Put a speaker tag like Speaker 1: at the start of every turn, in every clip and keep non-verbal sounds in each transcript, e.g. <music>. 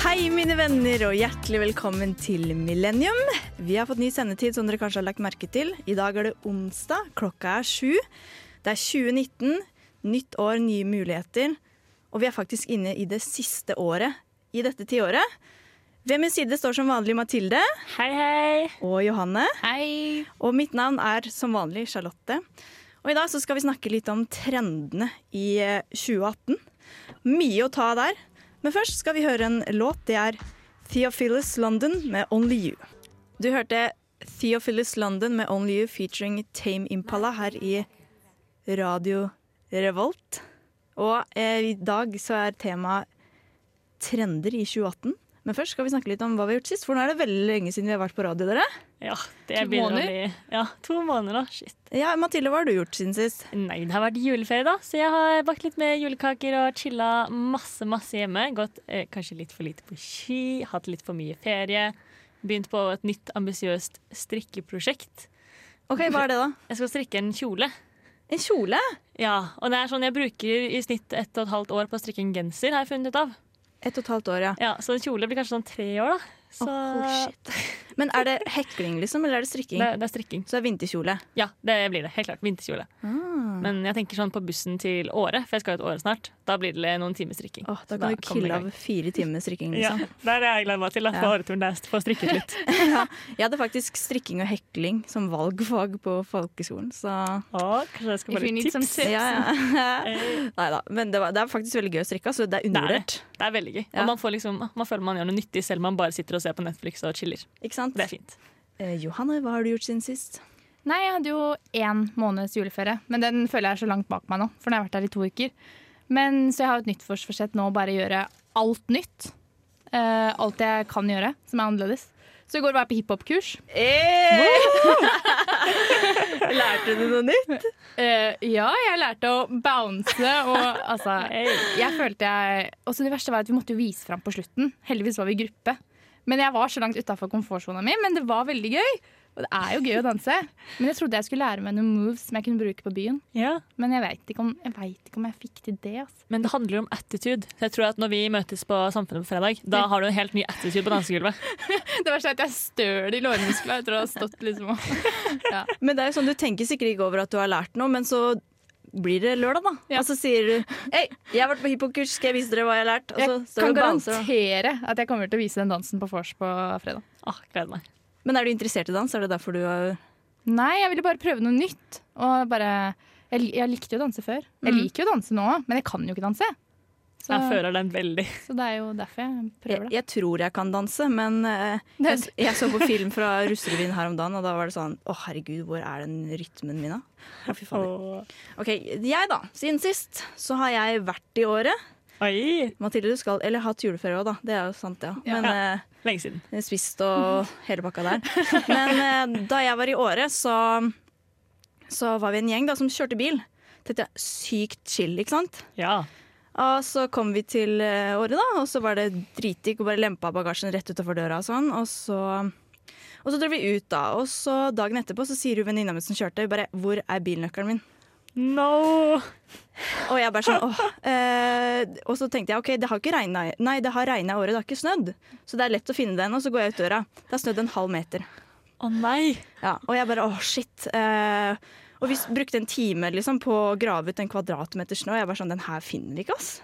Speaker 1: Hei, mine venner, og hjertelig velkommen til Millennium. Vi har fått ny sendetid, som dere kanskje har lagt merke til. I dag er det onsdag, klokka er sju. Det er 2019, nytt år, nye muligheter. Og vi er faktisk inne i det siste året i dette tiåret. Ved min side står som vanlig Mathilde
Speaker 2: Hei, hei.
Speaker 1: og Johanne.
Speaker 2: Hei.
Speaker 1: Og mitt navn er som vanlig Charlotte. Og i dag så skal vi snakke litt om trendene i eh, 2018. Mye å ta der. Men først skal vi høre en låt. Det er Theophilus London med 'Only You'. Du hørte Theophilus London med 'Only You' featuring Tame Impala her i Radio Revolt. Og eh, i dag så er temaet trender i 2018. Men først skal vi snakke litt om hva vi har gjort sist. For nå er det veldig lenge siden vi har vært på radio, dere.
Speaker 2: Ja, det begynner å bli Ja, to måneder, da. Shit.
Speaker 1: Ja, Mathilde, hva har du gjort siden sist?
Speaker 2: Nei, det har vært juleferie, da, så jeg har bakt litt med julekaker og chilla masse, masse hjemme. Gått eh, kanskje litt for lite på ski, hatt litt for mye ferie. Begynt på et nytt ambisiøst strikkeprosjekt.
Speaker 1: Ok, Hva er det, da?
Speaker 2: Jeg skal strikke en kjole.
Speaker 1: <laughs> En kjole?
Speaker 2: Ja, og det er sånn jeg bruker i snitt ett og et halvt år på å strikke en genser, har jeg funnet ut av.
Speaker 1: Ett og et halvt år, ja.
Speaker 2: Ja, Så en kjole blir kanskje sånn tre år, da. Så
Speaker 1: Oh, shit. Men er det hekling, liksom, eller er det strikking?
Speaker 2: det, det er strikking.
Speaker 1: Så det er vinterkjole.
Speaker 2: Ja, det blir det. Helt klart. Vinterkjole.
Speaker 1: Ah.
Speaker 2: Men jeg tenker sånn på bussen til Åre, for jeg skal jo til Åre snart. Da blir det noen timer strikking.
Speaker 1: Åh, da
Speaker 2: Så
Speaker 1: kan du
Speaker 2: kommer
Speaker 1: kille
Speaker 2: jeg i
Speaker 1: av
Speaker 2: gang.
Speaker 1: fire timer med strikking.
Speaker 2: Ja,
Speaker 1: Liksom.
Speaker 2: det er det jeg gleder meg til. Da,
Speaker 1: Ja.
Speaker 2: på Åreturen der, få strikket litt. <laughs>
Speaker 1: Jeg hadde faktisk strikking og hekling som valgfag på folkeskolen, så
Speaker 2: Å, kanskje jeg skal
Speaker 3: If
Speaker 2: bare
Speaker 3: you need some
Speaker 2: tips. Eh,
Speaker 3: tips.
Speaker 1: ja, ja. <laughs> Nei da. Men det, var, det er faktisk veldig gøy å strikke, så det er
Speaker 2: Det er
Speaker 1: undervurdert.
Speaker 2: Det er veldig gøy.
Speaker 1: Ja.
Speaker 2: Og man, får liksom, man føler man gjør noe nyttig selv om man bare sitter og ser på Netflix og chiller.
Speaker 1: Ikke sant?
Speaker 2: Det er fint.
Speaker 1: Eh, Johanne, hva har du gjort siden sist?
Speaker 3: Nei, jeg hadde jo én måneds juleferie, men den føler jeg er så langt bak meg nå. For nå har jeg vært der i to uker. Men så jeg har jo et nyttårsforsett nå å bare gjøre alt nytt. Eh, alt jeg kan gjøre som er annerledes. Så i går var jeg på hiphop-kurs.
Speaker 1: Eh! <laughs> Lærte du noe nytt?
Speaker 3: Eh, ja, jeg lærte å bounce og altså Jeg følte jeg Og så det verste var at vi måtte jo vise fram på slutten. Heldigvis var vi i gruppe. Men jeg var så langt utafor komfortsona mi, men det var veldig gøy. Og det er jo gøy å danse. Men jeg trodde jeg skulle lære meg noen moves som jeg kunne bruke på byen.
Speaker 2: Ja.
Speaker 3: Men jeg veit ikke, om- jeg vet ikke om jeg fikk til det. Altså.
Speaker 2: Men det handler jo om attitude. Så jeg tror at Når vi møtes på Samfunnet på fredag, da har du en helt ny attitude på <laughs> dansegulvet.
Speaker 3: Det verste er at jeg støl i lårmusklene etter å ha stått liksom og
Speaker 1: Men det er jo sånn, Du tenker sikkert ikke over at du har lært noe, men så blir det lørdag, da.
Speaker 3: Ja.
Speaker 1: Og så sier du Hei, jeg har vært på hiphop-kurs, skal jeg vise dere hva jeg har lært? Og så
Speaker 3: Jeg
Speaker 1: står
Speaker 3: kan
Speaker 1: du Altså, og bouncer, da.
Speaker 3: garantere at jeg kommer til å vise den dansen på vors på fredag.
Speaker 2: Å, gleder meg.
Speaker 1: Men er du interessert i dans? Er det derfor du har
Speaker 3: Nei, jeg ville bare prøve noe nytt. Og bare Jeg, jeg likte jo å danse før. Jeg liker jo å danse nå òg, men jeg kan jo ikke danse. Så,
Speaker 2: Jeg føler den veldig.
Speaker 3: så det er jo derfor jeg
Speaker 1: jeg,
Speaker 3: prøver det.
Speaker 1: jeg tror jeg kan danse, men eh, jeg, s- jeg så på film fra Russerevyen her om dagen, og da var det sånn Å, herregud, hvor er den rytmen min, da? Å, fy fader.
Speaker 2: Åh.
Speaker 1: OK, jeg, da. Siden sist så har jeg vært i året.
Speaker 2: Oi!
Speaker 1: Mathilde, du skal Eller hatt juleferie òg, da. Det er jo sant, ja. Men eh,
Speaker 2: Lenge siden.
Speaker 1: spist og hele pakka der. Men eh, da jeg var i Åre, så, så var vi en gjeng da, som kjørte bil. Tenkte jeg, sykt chill, ikke sant?
Speaker 2: Ja.
Speaker 1: Og så kom vi til eh, Åre, da, og så var det dritdigg å bare lempe av bagasjen rett utafor døra og sånn. Og så, og så dro vi ut, da. Og så dagen etterpå så sier hun venninna mi som kjørte, bare 'Hvor er bilnøkkelen min?'
Speaker 2: No!
Speaker 1: Og jeg bare sånn, åh. Eh, og så tenkte jeg ok, det har ikke regnet, nei, det har regnet i året, det har ikke snødd. Så det er lett å finne den, og så går jeg ut døra. Det har snødd en halv meter.
Speaker 2: Å nei!
Speaker 1: Ja, og jeg bare åh, shit. Eh, og vi s- brukte en time liksom, på å grave ut en kvadratmeter snø. Og jeg var sånn, den her finner vi ikke, ass.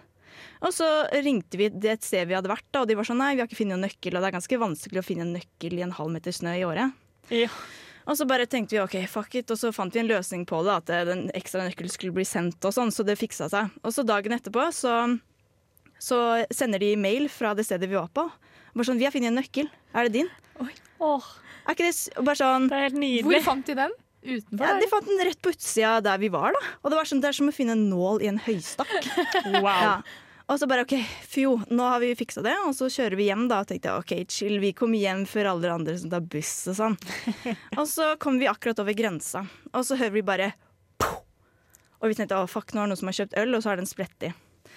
Speaker 1: Og så ringte vi det et sted vi hadde vært, da, og de var sånn nei, vi har ikke funnet noen nøkkel. Og det er ganske vanskelig å finne en nøkkel i en halv meter snø i året.
Speaker 2: Ja.
Speaker 1: Og så bare tenkte vi ok, fuck it, og så fant vi en løsning på det, at eh, den ekstra nøkkelen skulle bli sendt og sånn, så det fiksa seg. Og så dagen etterpå så, så sender de mail fra det stedet vi var på. Bare sånn, vi har funnet en nøkkel, er det din?
Speaker 2: Åh,
Speaker 1: Er ikke det s- og Bare sånn
Speaker 2: det er helt
Speaker 3: Hvor
Speaker 2: nydelig.
Speaker 3: fant de den? Utenfor?
Speaker 1: Ja,
Speaker 3: der?
Speaker 1: de fant den rett på utsida der vi var, da. Og det var sånn, det er som å finne en nål i en <laughs> høystakk.
Speaker 2: Wow.
Speaker 1: Ja. Og så bare OK, fjo, nå har vi fiksa det, og så kjører vi hjem, da. Og tenkte jeg OK, chill, vi kommer hjem før alle de andre som tar buss og <laughs> sånn. og så kom vi akkurat over grensa, og så hører vi bare pow! Og vi tenkte å fuck, nå er det noen som har kjøpt øl, og så er det en splett i.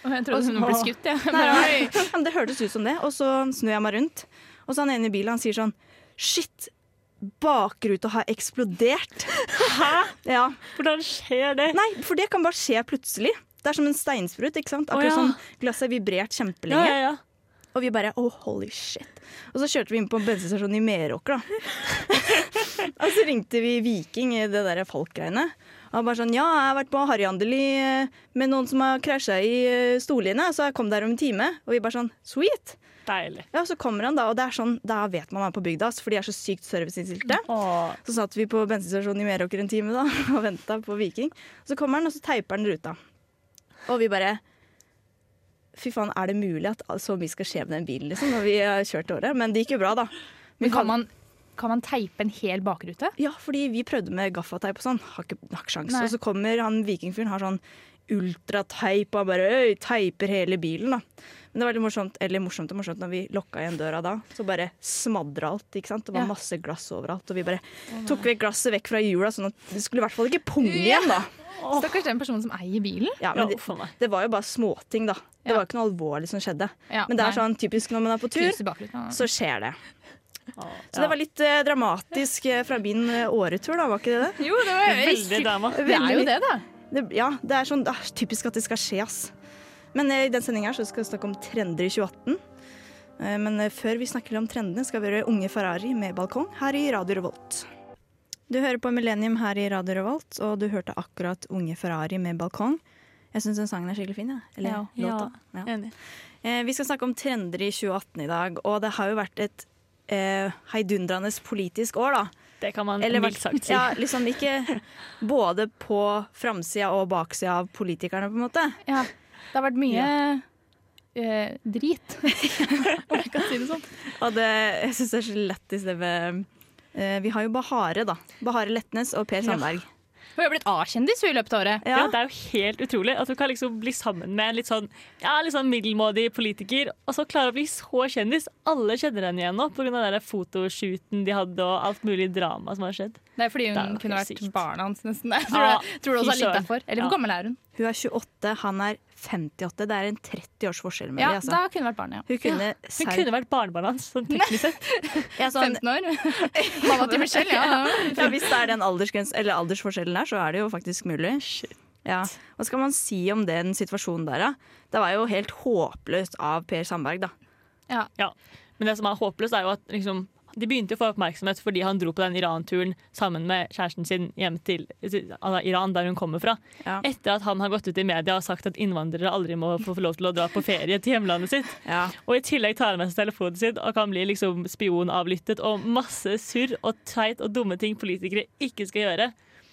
Speaker 3: Og jeg trodde hun ble skutt, jeg.
Speaker 1: Nei,
Speaker 3: Bare,
Speaker 1: nei.
Speaker 3: oi.
Speaker 1: <laughs> Ja, men det hørtes ut som det. Og så snur jeg meg rundt, og så han ene i bilen han sier sånn Shit, bakruta har eksplodert. Hæ? Ja.
Speaker 2: Hvordan skjer det?
Speaker 1: Nei, for det kan bare skje plutselig. Det er som en steinsprut. ikke sant? Akkurat
Speaker 2: Å, ja.
Speaker 1: sånn Glasset har vibrert
Speaker 2: Ja,
Speaker 1: kjempelenge.
Speaker 2: ja, ja.
Speaker 1: Og vi bare oh, holy shit. Og så kjørte vi inn på en bensinstasjon i Meråker,
Speaker 2: <laughs>
Speaker 1: da. og så ringte vi Viking i det derre Falk-greiene. Og han bare sånn ja, jeg har vært på harryhandel i, eh, med noen som har krasja i eh, storlinja, så jeg kom der om en time. Og vi bare sånn sweet.
Speaker 2: Deilig.
Speaker 1: Ja, så kommer han da, og det er sånn, da vet man han er på bygda, ass, for de er så sykt serviceinnstilte.
Speaker 2: Åh,
Speaker 1: Så satt vi på bensinstasjonen i Meråker en time da, <laughs> og venta på Viking. Så kommer han, og så teiper han ruta. Og vi bare Fy faen, er det mulig at så mye skal skje med den bilen liksom, når vi har kjørt året? Men det gikk jo bra, da.
Speaker 3: Men kan man, kan man teipe en hel bakrute?
Speaker 1: Ja, fordi vi prøvde med gaffateip og sånn. Har ikke har ikke sjans.
Speaker 3: Nei.
Speaker 1: Og så kommer han vikingfyren, har sånn ultrateip og han bare øy, teiper hele bilen, da. Men det var veldig morsomt, eller morsomt og morsomt, når vi lokka igjen døra da, så bare smadra alt, ikke sant. Det var
Speaker 3: Ja.
Speaker 1: masse glass overalt, og vi bare tok vekk glasset vekk fra hjula, sånn at det skulle i hvert fall ikke punge igjen, da.
Speaker 2: Åh.
Speaker 3: Stakkars den personen som eier bilen.
Speaker 1: Ja,
Speaker 2: ja,
Speaker 1: men det,
Speaker 2: uff a meg.
Speaker 1: det var jo bare småting, da. Det
Speaker 3: Ja.
Speaker 1: var ikke noe alvorlig som skjedde.
Speaker 3: Ja,
Speaker 1: Men det er
Speaker 3: nei.
Speaker 1: sånn typisk når man er på tur,
Speaker 3: Knuser bakruten.
Speaker 1: så skjer det.
Speaker 2: Åh,
Speaker 1: Så det var litt eh, dramatisk eh, fra min eh, åretur, da, var ikke det det?
Speaker 3: Jo, det
Speaker 2: ja.
Speaker 3: var
Speaker 2: <laughs> Veldig drama.
Speaker 3: Det er jo det, da.
Speaker 1: Det, ja, det er sånn det er typisk at det skal skje, ass. Men eh, i den sendinga skal vi snakke om trender i 2018. Eh, Men eh, før vi snakker om trendene, skal vi høre Unge Ferrari med balkong her i Radio Revolt. Du hører på Millennium her i Radio Revolt, og du hørte akkurat Unge Ferrari med balkong. Jeg syns den sangen er skikkelig fin. Ja. Eller
Speaker 3: Ja.
Speaker 1: låta. Ja.
Speaker 2: Enig.
Speaker 1: Eh, Vi skal snakke om trender i 2018 i dag, og det har jo vært et eh, heidundrende politisk år, da.
Speaker 2: Det kan man
Speaker 1: Eller
Speaker 2: mildt sagt si.
Speaker 1: Ja, liksom ikke både på framsida og baksida av politikerne, på en måte.
Speaker 3: Ja. Det har vært mye eh, <laughs> drit, om jeg kan si det sånn.
Speaker 1: Og det, jeg syns det er så lættis det med eh, Vi har jo Bahare, da. Bahare Letnes og Per Sandberg.
Speaker 3: Hun har blitt A-kjendis hun i løpet av året.
Speaker 2: Ja. Det er jo helt utrolig at hun kan liksom bli sammen med en litt sånn, ja, litt sånn middelmådig politiker, og så klare å bli så kjendis. Alle kjenner henne igjen nå pga. fotoshooten de hadde, og alt mulig drama som har skjedd.
Speaker 3: Det er fordi
Speaker 2: Det er
Speaker 3: hun
Speaker 2: jo
Speaker 3: kunne
Speaker 2: helt
Speaker 3: vært
Speaker 2: sykt.
Speaker 3: barna hans, nesten. <laughs> Jeg tror,
Speaker 2: Ja,
Speaker 3: det- tror det også
Speaker 2: fy
Speaker 3: er litt
Speaker 2: søren.
Speaker 3: derfor. Eller hvor
Speaker 2: Ja.
Speaker 3: gammel er hun?
Speaker 1: Hun er 28, han er 58. Det er en 30 års forskjell med
Speaker 3: Ja,
Speaker 1: dem. Altså.
Speaker 3: da kunne hun vært
Speaker 2: <laughs>
Speaker 3: barnet, ja.
Speaker 1: Hun kunne
Speaker 2: Hun
Speaker 1: serr-
Speaker 2: kunne vært barnebarnet hans, sånn teknisk sett.
Speaker 1: ja, sånn,
Speaker 3: 15 år. <laughs> Mamma til
Speaker 2: <laughs>
Speaker 3: Michelle, ja.
Speaker 1: ja, Hvis det er den aldersgrens, eller aldersforskjellen der, så er det jo faktisk mulig. Ja. Hva skal man si om den situasjonen der, da? Det var jo helt håpløst av Per Sandberg, da.
Speaker 3: ja.
Speaker 2: Ja. Men det som er håpløst, er jo at liksom, de begynte å få oppmerksomhet fordi han dro på den Iran-turen sammen med kjæresten sin hjem til til- altså, Iran, der hun kommer fra.
Speaker 1: Ja.
Speaker 2: Etter at han har gått ut i media og sagt at innvandrere aldri må få lov til å dra på ferie til hjemlandet sitt.
Speaker 1: Ja.
Speaker 2: Og i tillegg tar han med seg telefonen sin og kan bli liksom spionavlyttet og masse surr og teit og dumme ting politikere ikke skal gjøre.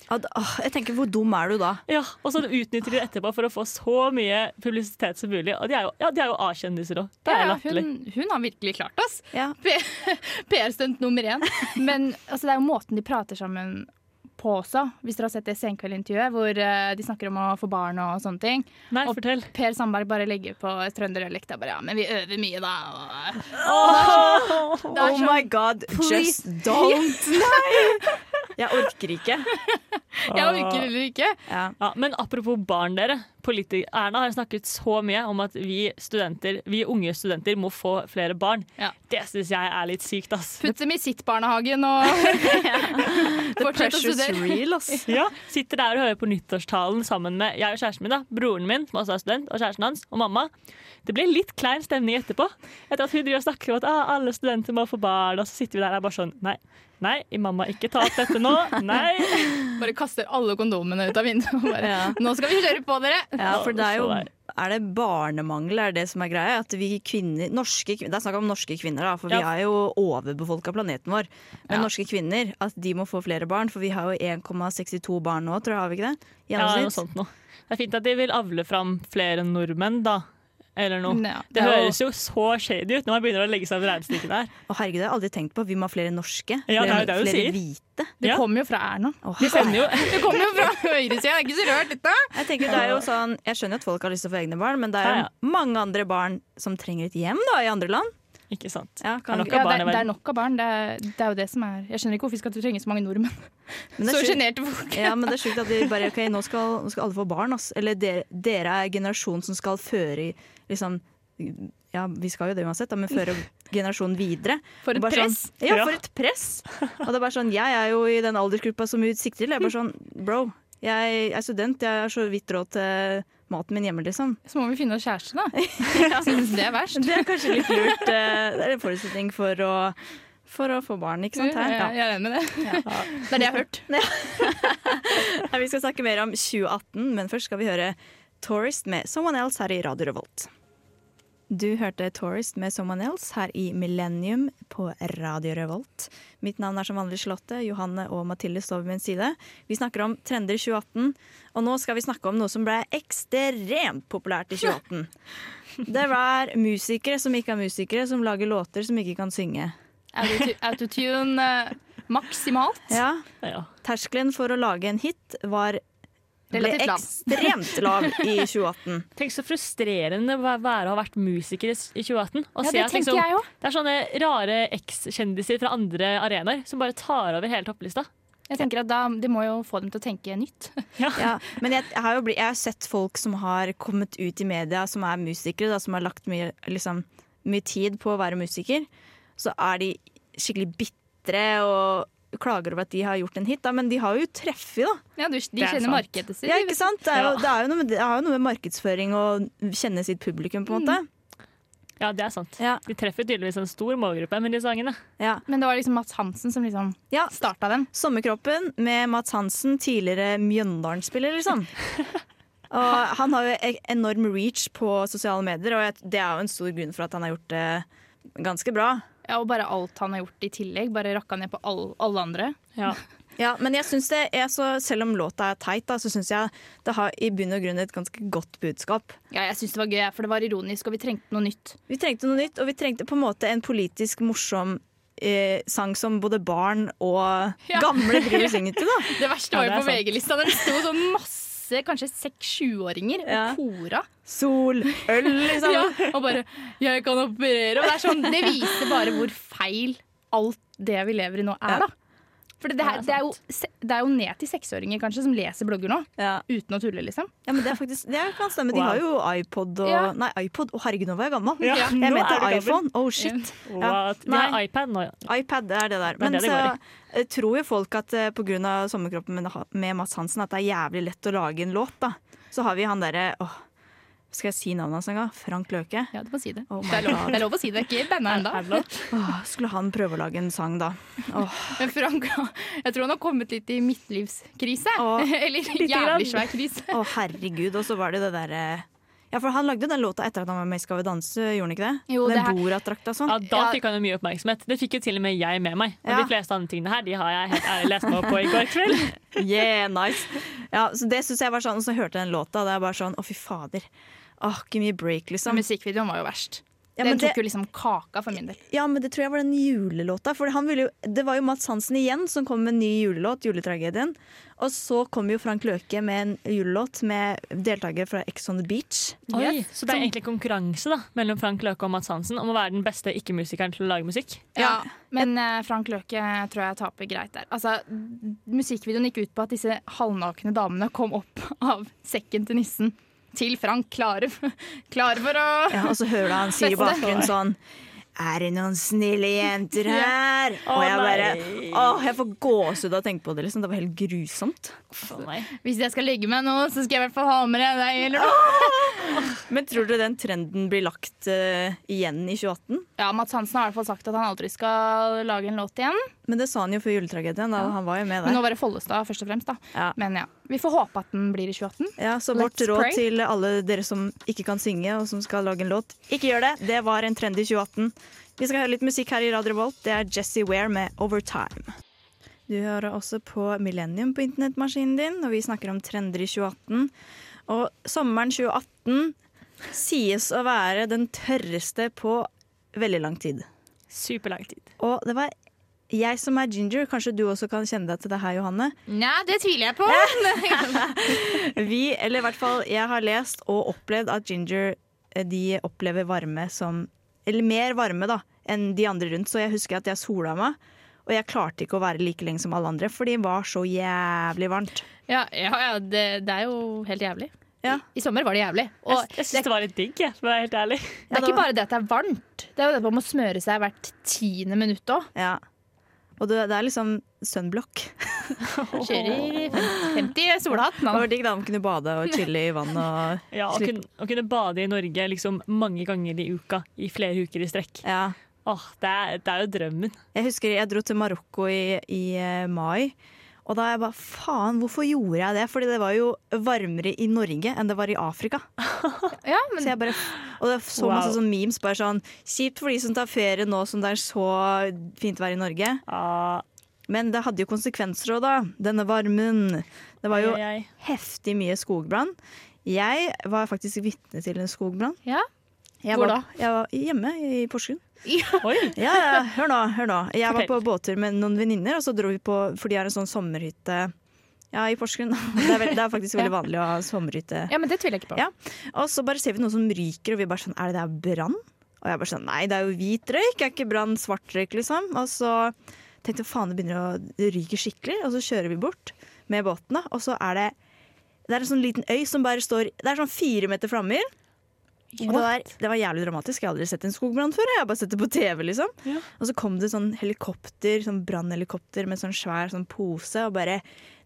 Speaker 1: At, åh, jeg tenker, hvor dum er du da?
Speaker 2: Ja, Og så utnytter de det etterpå for å få så mye publisitet som mulig. Og de er jo, ja, de er jo A-kjendiser òg. Det
Speaker 3: Ja,
Speaker 2: er
Speaker 3: ja,
Speaker 2: latterlig.
Speaker 3: hun, hun har virkelig klart oss.
Speaker 1: Ja.
Speaker 3: PR-stunt nummer én. Men altså, det er jo måten de prater sammen på også. Hvis dere har sett det Senkveld-intervjuet hvor eh, de snakker om å få barn og sånne ting.
Speaker 2: Nei,
Speaker 3: og-
Speaker 2: fortell.
Speaker 3: Per Sandberg bare legger på trønderdialekt. Det er Bare, ja, men vi øver mye, da. Og, Det er
Speaker 1: Oh
Speaker 3: sånn,
Speaker 1: my god,
Speaker 3: Please.
Speaker 1: <laughs> just don't! Nei! Jeg orker ikke.
Speaker 3: jeg orker heller ikke.
Speaker 1: Ja.
Speaker 2: Ja, men apropos barn, dere. Politi Erna har snakket så mye om at vi studenter, vi unge studenter må få flere barn.
Speaker 3: Ja.
Speaker 2: Det syns jeg er litt sykt, ass.
Speaker 3: Putt dem i sitt barnehagen
Speaker 1: <laughs>
Speaker 3: og
Speaker 1: The
Speaker 3: fortsett å
Speaker 1: pressure's
Speaker 3: studere.
Speaker 1: real,
Speaker 2: <laughs>
Speaker 1: ass.
Speaker 2: Ja, sitter der og hører på nyttårstalen sammen med jeg og kjæresten min, da, broren min, som også er student, og kjæresten hans, og mamma. Det blir litt klein stemning etterpå. Etter at hun driver og snakker om at ah, alle studenter må få barn, og så sitter vi der og er bare sånn Nei, nei, mamma, ikke ta opp dette nå. Nei.
Speaker 3: Bare kaster alle kondomene ut av vinduet. Og bare,
Speaker 1: Ja.
Speaker 3: Nå skal vi kjøre på, dere!
Speaker 1: Ja, for det er jo
Speaker 2: Så der.
Speaker 1: Er det barnemangel er det som er greia? At vi kvinner, norske kvinner Det er snakk om norske kvinner, da, for vi
Speaker 2: Ja.
Speaker 1: har jo overbefolka planeten vår. Men
Speaker 3: Ja.
Speaker 1: norske kvinner, at de må få flere barn, for vi har jo 1,62 barn nå, tror jeg, har vi ikke det?
Speaker 2: Ja, noe
Speaker 1: Gjennomsnitt.
Speaker 2: sånt noe. Det er fint at de vil avle fram flere nordmenn, da. Eller noe.
Speaker 3: Ja,
Speaker 2: Det
Speaker 3: er
Speaker 2: høres jo så shady ut når man begynner å legge seg på regnestykket her.
Speaker 1: Å herregud, det har jeg aldri tenkt på. Vi må ha flere norske.
Speaker 2: Ja, det
Speaker 1: flere
Speaker 2: er jo det hun
Speaker 1: flere
Speaker 2: sier.
Speaker 1: hvite.
Speaker 3: Det
Speaker 2: Ja.
Speaker 3: kommer jo fra Erna.
Speaker 1: Å,
Speaker 2: Det kommer jo <laughs>
Speaker 3: Det kommer jo fra høyresida, det er ikke så rørt, dette.
Speaker 1: Jeg tenker det er jo sånn Jeg skjønner at folk har lyst til å få egne barn, men det er jo
Speaker 2: Ja, ja.
Speaker 1: mange andre barn som trenger et hjem da, i andre land.
Speaker 2: Ikke sant.
Speaker 1: Ja,
Speaker 2: Er
Speaker 1: kan,
Speaker 2: nok
Speaker 1: ja,
Speaker 3: Ja, det,
Speaker 2: barn i
Speaker 3: er,
Speaker 2: verden.
Speaker 3: det er nok av barn. Det er, det er jo det som er Jeg skjønner ikke hvorfor vi skal trenge så mange nordmenn.
Speaker 1: men det
Speaker 3: <laughs> Så
Speaker 1: er sjukt-
Speaker 3: sjenerte folk.
Speaker 1: ja, men det er sjukt at de bare OK, nå skal, nå skal alle få barn, ass. Eller dere, dere er generasjonen som skal føre i liksom Ja, vi skal jo det uansett, da, men føre generasjonen
Speaker 2: <laughs>
Speaker 1: videre. Og
Speaker 3: For et
Speaker 1: bare
Speaker 3: press.
Speaker 1: Sånn, ja,
Speaker 2: Ja.
Speaker 1: for et press! Og det er bare sånn Jeg er jo i den aldersgruppa som hun sikter til. Jeg er bare sånn Bro, jeg er student, jeg har så vidt råd til maten min hjemme, liksom.
Speaker 3: Så må vi finne oss kjæreste, da. Synes du det er verst?
Speaker 1: Det er kanskje litt lurt. eh, Det er en forutsetning for å, for å få barn, ikke sant? Her.
Speaker 3: Ja,
Speaker 1: Ja.
Speaker 3: jeg er enig med det. Det er det jeg har hørt.
Speaker 1: <laughs> Nei, Vi skal snakke mer om 2018, men først skal vi høre 'Tourist' med 'Someone Else' her i Radio Revolt. Du hørte 'Tourist' med 'Someone Else' her i Millennium på Radio Revolt. Mitt navn er som vanlig Charlotte. Johanne og Mathilde står ved min side. Vi snakker om trender i 2018, og nå skal vi snakke om noe som ble ekstremt populært i
Speaker 3: <laughs>
Speaker 1: 2018. Det var musikere som ikke er musikere, som lager låter som ikke kan synge.
Speaker 3: Autotu- Autotune eh, maksimalt.
Speaker 1: Ja,
Speaker 2: Ja.
Speaker 1: Terskelen for å lage en hit var ble
Speaker 3: Relativt lav.
Speaker 1: ekstremt lav i 2018.
Speaker 2: Tenk så frustrerende det var å være- å ha vært musiker i s- i 2018. Og
Speaker 3: Ja,
Speaker 2: se
Speaker 3: det
Speaker 2: at,
Speaker 3: tenker
Speaker 2: liksom,
Speaker 3: jeg òg.
Speaker 2: Det er sånne rare ekskjendiser fra andre arenaer som bare tar over hele topplista.
Speaker 3: Jeg tenker at da, De må jo få dem til å tenke nytt. <laughs>
Speaker 1: Ja, men jeg, jeg, har jo blitt, jeg har sett folk som har kommet ut i media, som er musikere, da, som har lagt mye, liksom, mye tid på å være musiker. Så er de skikkelig bitre og klager over at de har gjort en hit, da, men de har jo treffet, da.
Speaker 3: Ja, du, De
Speaker 2: er
Speaker 3: kjenner
Speaker 2: sant.
Speaker 3: markedet sitt.
Speaker 1: Ja, ikke sant? Det er jo,
Speaker 2: Ja.
Speaker 1: det er jo, noe, med, det har jo noe med markedsføring og kjenne sitt publikum, på en måte.
Speaker 2: Ja, det er sant.
Speaker 1: Ja,
Speaker 2: De treffer tydeligvis en stor målgruppe med de sangene.
Speaker 1: ja.
Speaker 3: Men det var liksom Mats Hansen som liksom
Speaker 1: ja.
Speaker 3: starta den.
Speaker 1: Sommerkroppen med Mats Hansen, tidligere Mjøndalen-spiller,
Speaker 3: <laughs>
Speaker 1: liksom. Og han har jo e- enorm reach på sosiale medier, og jeg- det er jo en stor grunn for at han har gjort det ganske bra.
Speaker 3: Ja, Og bare alt han har gjort i tillegg. Bare rakka ned på all, alle andre.
Speaker 2: Ja.
Speaker 1: Ja, men jeg synes det er så, selv om låta er teit, da, så syns jeg det har i bunn og grunn et ganske godt budskap.
Speaker 3: <laughs> Ja, Jeg syns det var gøy, for det var ironisk, og vi trengte noe nytt.
Speaker 1: Vi trengte noe nytt, og vi trengte på en måte en politisk morsom eh, sang som både barn og
Speaker 3: Ja.
Speaker 1: gamle
Speaker 3: <laughs>
Speaker 1: driver og synger til, da.
Speaker 3: Det verste
Speaker 2: Ja,
Speaker 3: var
Speaker 2: det
Speaker 3: jo
Speaker 2: er
Speaker 3: på
Speaker 2: sant.
Speaker 3: VG-lista. Det sto sånn masse kanskje seks-sjuåringer
Speaker 1: Ja. <laughs>
Speaker 3: og kora.
Speaker 1: Sol, øl, liksom.
Speaker 3: Ja, og bare 'jeg kan operere'. Og det, er sånn, det viser bare hvor feil alt det vi lever i nå, er.
Speaker 1: Ja.
Speaker 3: da. For det,
Speaker 2: Ja,
Speaker 3: her,
Speaker 2: det
Speaker 3: det,
Speaker 2: er
Speaker 3: er jo, se- det er jo ned til seksåringer kanskje som leser blogger nå,
Speaker 1: Ja.
Speaker 3: uten å tulle, liksom.
Speaker 1: Ja, men det, er faktisk, det kan stemme. De
Speaker 2: Wow.
Speaker 1: har jo iPod og
Speaker 3: Ja.
Speaker 1: Nei, iPod. Å, herregud, nå var jeg gammel.
Speaker 2: Ja,
Speaker 1: Jeg
Speaker 2: nå
Speaker 1: mente
Speaker 2: er du gammel.
Speaker 1: iPhone. Oh, shit. Ja.
Speaker 2: What? De har
Speaker 1: Nei.
Speaker 2: iPad nå.
Speaker 1: iPad det er det der.
Speaker 2: er
Speaker 1: Men
Speaker 2: det det
Speaker 1: så
Speaker 2: går
Speaker 1: eh, tror jo folk at eh, på grunn av sommerkroppen med, med Mads Hansen at det er jævlig lett å lage en låt, da. Så har vi han derre åh, Skal jeg si navnet hans en gang? Frank Løke.
Speaker 3: Ja, du må si det.
Speaker 1: Oh my
Speaker 3: det, er lov,
Speaker 1: God.
Speaker 3: det er lov å si det. Ikke banna ennå.
Speaker 2: Er det lov?
Speaker 1: Åh, skulle han prøve å lage en sang, da? Åh,
Speaker 3: Men Frank, <laughs> jeg tror han har kommet litt i midtlivskrise.
Speaker 1: Å,
Speaker 3: <laughs> Eller
Speaker 2: grann.
Speaker 3: jævlig svær krise.
Speaker 1: Å, herregud. Og så var det det derre Ja, for han lagde jo den låta etter at han var med i Skal vi danse, gjorde han ikke det?
Speaker 3: Jo, det
Speaker 1: den
Speaker 3: her-
Speaker 1: Borat-drakta og sånn.
Speaker 2: Ja, da
Speaker 3: Ja.
Speaker 2: fikk han jo mye oppmerksomhet. Det fikk jo til og med jeg med meg. Og
Speaker 1: Ja.
Speaker 2: de fleste andre tingene her de har jeg helt ærlig lest meg opp på i går kveld.
Speaker 1: Yeah, nice. Ja, så det synes jeg var sånn, og så hørte jeg den låta, og det er bare sånn, å fy fader. Åh, give me a break, liksom.
Speaker 3: Musikkvideoen var jo verst.
Speaker 1: Ja, men
Speaker 3: den tok
Speaker 1: det-
Speaker 3: jo liksom kaka for min del.
Speaker 1: Ja, men det tror jeg var den julelåta, for han ville jo, det var jo Mats Hansen igjen som kom med en ny julelåt, juletragedien. Og så kom jo Frank Løke med en julelåt med deltaker fra Ex on the Beach.
Speaker 2: <laughs> Oi,
Speaker 3: Yes.
Speaker 2: så det er egentlig konkurranse da mellom Frank Løke og Mads Hansen om å være den beste ikke-musikeren til å lage musikk.
Speaker 3: Ja, men eh, Frank Løke tror jeg taper greit der. Altså, m- musikkvideoen gikk ut på at disse halvnakne damene kom opp <laughs> av sekken til nissen til Frank, klare, f- klare for å
Speaker 1: Ja, og så hører du han sier i
Speaker 3: Beste.
Speaker 1: bakgrunnen sånn, er det noen snille jenter her? Og jeg bare, åh, jeg får gåsehud av å tenke på det, liksom. Det var helt grusomt.
Speaker 2: For meg.
Speaker 3: Hvis jeg skal legge meg nå, så skal jeg i hvert fall ha med deg deg. Eller noe.
Speaker 1: Men tror du den trenden blir lagt eh, igjen i 2018?
Speaker 3: Ja, Mats Hansen har i hvert fall sagt at han aldri skal lage en låt igjen.
Speaker 1: Men det sa han jo før juletragedien. Da. Han var jo med
Speaker 3: Men nå
Speaker 1: der.
Speaker 3: var det Follestad først og fremst, da.
Speaker 1: Ja.
Speaker 3: Men ja, vi får håpe at den blir i 2018.
Speaker 1: Ja, så
Speaker 3: Let's
Speaker 1: vårt råd
Speaker 3: pray.
Speaker 1: til alle dere som ikke kan synge og som skal lage en låt, ikke gjør det. Det var en trend i 2018. Vi skal høre litt musikk her i Radio Revolt. Det er Jesse Ware med 'Overtime'. Du hører også på Millennium på internettmaskinen din, og vi snakker om trender i 2018. Og sommeren 2018 sies å være den tørreste på veldig lang tid.
Speaker 2: Superlang tid.
Speaker 1: Og det var jeg som er ginger, kanskje du også kan kjenne deg til det her, Johanne.
Speaker 3: Nei, det tviler jeg på.
Speaker 1: Vi, eller i hvert fall jeg har lest og opplevd at ginger eh, de opplever varme som Eller mer varme da enn de andre rundt. Så jeg husker at jeg sola meg, og jeg klarte ikke å være like lenge som alle andre, for det var så jævlig varmt.
Speaker 3: <laughs> Ja, ja, ja det, det er jo helt jævlig.
Speaker 1: Ja.
Speaker 3: I sommer var det jævlig.
Speaker 2: Jeg, jeg syns det var litt digg, jeg, for å være helt ærlig.
Speaker 1: Ja,
Speaker 3: Det er
Speaker 1: det
Speaker 3: ikke bare det at det er varmt, det er jo det at man må smøre seg hvert tiende minutt òg.
Speaker 1: Ja. Og det, det er liksom sunblock.
Speaker 3: Kjører 50 solhatt.
Speaker 1: Det
Speaker 3: nå.
Speaker 1: var digg da man kunne bade og chille i vann og
Speaker 2: Ja, å kunne, å kunne bade i Norge liksom mange ganger i uka i flere uker i strekk.
Speaker 1: Ja.
Speaker 2: Åh, det, er, det er jo drømmen.
Speaker 1: Jeg husker jeg dro til Marokko i, i eh, mai. Og da er jeg bare faen, hvorfor gjorde jeg det? Fordi det var jo varmere i Norge enn det var i Afrika.
Speaker 3: Ja, men
Speaker 1: Så jeg bare, og det er så
Speaker 2: Wow.
Speaker 1: masse sånn memes bare sånn Kjipt for de som tar ferie nå som det er så fint vær i Norge.
Speaker 2: Ah,
Speaker 1: Men det hadde jo konsekvenser òg, da. Denne varmen. Det var jo
Speaker 2: ai, ai.
Speaker 1: heftig mye skogbrann. Jeg var faktisk vitne til en skogbrann.
Speaker 3: ja.
Speaker 1: Jeg
Speaker 3: Hvor
Speaker 1: var, Jeg var hjemme i Porsgrunn.
Speaker 2: Oi,
Speaker 1: Ja, ja, hør nå, hør nå. Jeg var på
Speaker 2: Fortell.
Speaker 1: båttur med noen venninner, og så dro vi på For de har en sånn sommerhytte ja, i Porsgrunn. Det er, veld, det er faktisk veldig vanlig å ha sommerhytte.
Speaker 3: ja, men det tviler jeg ikke på.
Speaker 1: Ja. Og så bare ser vi noe som ryker, og vi bare sånn Er det der brann? Og jeg bare sånn Nei, det er jo hvit røyk, er ikke brann svart røyk, liksom? Og så tenkte jeg faen, det begynner å det ryker skikkelig, og så kjører vi bort med båten, da, og så er det det er en sånn liten øy som bare står Det er sånn fire meter flammer. Og det var, det var jævlig dramatisk. Jeg har aldri sett en skogbrann før. Jeg har bare sett det på TV, liksom.
Speaker 2: Ja.
Speaker 1: Og så kom det sånn helikopter, sånn brannhelikopter med sånn svær sånn pose, og bare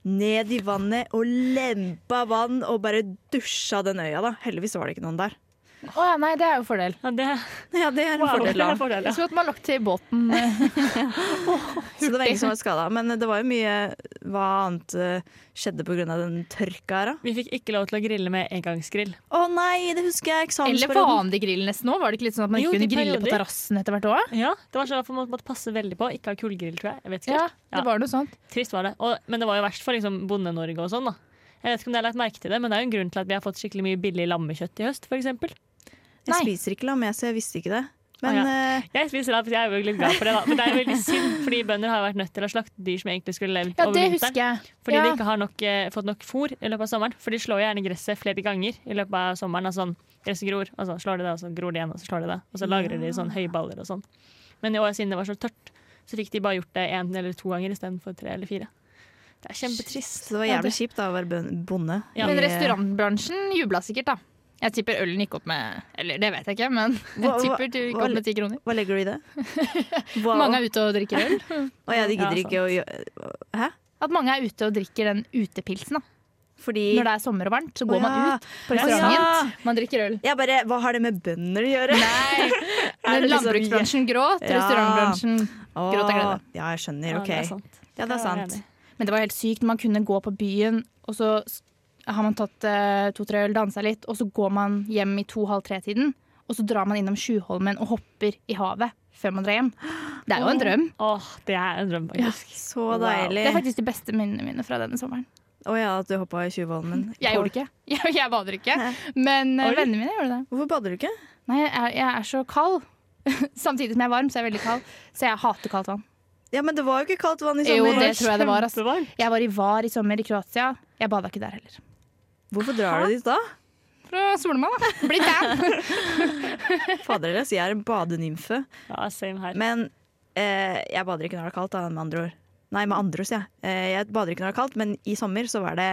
Speaker 1: ned i vannet og lempa vann og bare dusja den øya, da. Heldigvis var det ikke noen der.
Speaker 3: Å ja, nei, det er jo fordel.
Speaker 2: Ja, det,
Speaker 1: <laughs> Ja, det er en
Speaker 2: wow,
Speaker 1: fordel,
Speaker 2: det
Speaker 1: da.
Speaker 2: <laughs> er fordel, ja.
Speaker 3: Jeg skulle hatt meg lagt til
Speaker 1: <laughs>
Speaker 3: båten.
Speaker 1: Så det var ingen som var skada. Men eh, det var jo mye Hva annet eh, skjedde pga. den tørka her, da?
Speaker 2: Vi fikk ikke lov til å grille med engangsgrill.
Speaker 1: Å nei, det husker jeg!
Speaker 3: Eller
Speaker 1: Eksamensperioden.
Speaker 3: vanlig grill nesten òg. Var det ikke litt sånn at man
Speaker 2: Jo,
Speaker 3: ikke kunne
Speaker 2: de
Speaker 3: grille på
Speaker 2: perioder.
Speaker 3: terrassen etter hvert òg?
Speaker 2: Ja, det var sånn at Man måtte passe veldig på. Ikke ha kullgrill, tror jeg. jeg vet ikke
Speaker 3: Ja,
Speaker 2: helt.
Speaker 3: det var noe sånt.
Speaker 2: Trist var det. Og, men det var jo verst for liksom, Bonde-Norge og sånn. da. Jeg vet ikke om dere har lagt merke til det, men det er jo en grunn til at vi har fått skikkelig mye billig lammekjøtt i høst, for eksempel.
Speaker 1: Jeg
Speaker 3: Nei.
Speaker 1: spiser ikke lam, jeg, så jeg visste ikke det. Men
Speaker 2: Å, ja.
Speaker 1: eh,
Speaker 2: Jeg spiser lapp, jeg er jo litt glad for det, da. Men det er jo veldig synd, fordi bønder har jo vært nødt til å slakte dyr som egentlig skulle levd
Speaker 3: Ja,
Speaker 2: over
Speaker 3: det
Speaker 2: vinteren.
Speaker 3: husker jeg.
Speaker 2: Fordi
Speaker 3: ja.
Speaker 2: de ikke har nok, eh, fått nok fôr i løpet av sommeren. For de slår jo gjerne gresset flere ganger i løpet av sommeren. Altså sånn, gresset gror, og så slår de det, og så gror det igjen, og så slår de det. Og så lagrer de sånn høyballer og sånn. Men i år siden det var så tørt, så fikk de bare gjort det én eller to ganger istedenfor tre eller fire. Det er kjempetrist.
Speaker 1: Så det var jævlig kjipt da å være bøn- bonde. I-
Speaker 2: Ja.
Speaker 3: Men restaurantbransjen jubla sikkert, da. Jeg tipper ølen gikk opp med Eller det vet jeg ikke, men <laughs> jeg
Speaker 1: Hva- hva-
Speaker 3: tipper du gikk
Speaker 1: hva-
Speaker 3: opp med ti kroner.
Speaker 1: eh, Hva legger du i det? Wow.
Speaker 3: Mange er ute og drikker øl.
Speaker 1: Å ja, de gidder
Speaker 2: Ja, sant.
Speaker 1: ikke å gjøre Hæ?
Speaker 3: At mange er ute og drikker den utepilsen. da.
Speaker 1: Fordi
Speaker 3: Når det er sommer og varmt, så går
Speaker 1: Å, ja.
Speaker 3: man ut på
Speaker 1: Å, ja.
Speaker 3: restauranten. Man drikker øl.
Speaker 1: Jeg bare Hva har det med bønder å gjøre?
Speaker 3: <laughs> Men
Speaker 1: det liksom-
Speaker 3: landbruksbransjen gråt,
Speaker 1: Ja.
Speaker 3: restaurantbransjen
Speaker 1: Å,
Speaker 3: Gråt av glede.
Speaker 1: Ja, jeg skjønner.
Speaker 2: Ja,
Speaker 1: OK.
Speaker 2: det er sant.
Speaker 1: Ja, det er sant.
Speaker 3: Men det var helt sykt. Man kunne gå på byen, og så s- har man tatt eh, to-tre øl, dansa litt, og så går man hjem i to-halv tre-tiden. Og så drar man innom Tjuvholmen og hopper i havet før man drar hjem. Det er jo en drøm.
Speaker 2: Åh, det er en drøm, faktisk.
Speaker 1: Så
Speaker 2: Wow.
Speaker 1: deilig.
Speaker 3: Det er faktisk de beste minnene mine fra denne sommeren.
Speaker 1: Å ja, at du hoppa i tjuvholmen.
Speaker 3: <laughs> Jeg gjorde det ikke. Jeg, jeg bader ikke. Men eh,
Speaker 2: Oi.
Speaker 3: vennene mine gjorde det.
Speaker 1: Hvorfor bader du ikke?
Speaker 3: Nei, jeg er, jeg er så kald. <laughs> Samtidig som jeg er varm, så er jeg veldig kald. Så jeg hater kaldt vann.
Speaker 1: Ja, men det var jo ikke kaldt vann i
Speaker 3: Jo,
Speaker 1: sommer.
Speaker 3: det tror jeg det var. ass.
Speaker 2: Kjempevarmt.
Speaker 3: Jeg var i Var i sommer i Kroatia. Jeg bada ikke der heller.
Speaker 1: Hvorfor drar du dit da?
Speaker 3: For å sole meg, <laughs> da. Bli tan.
Speaker 1: Fader ellers, jeg er en
Speaker 3: <laughs>
Speaker 1: badenymfe.
Speaker 2: Ja, same her.
Speaker 1: Men eh, jeg bader ikke når det er kaldt, da, med andre ord. Nei, med andre ord, sier jeg. Eh, jeg bader ikke når det er kaldt, men i sommer så var det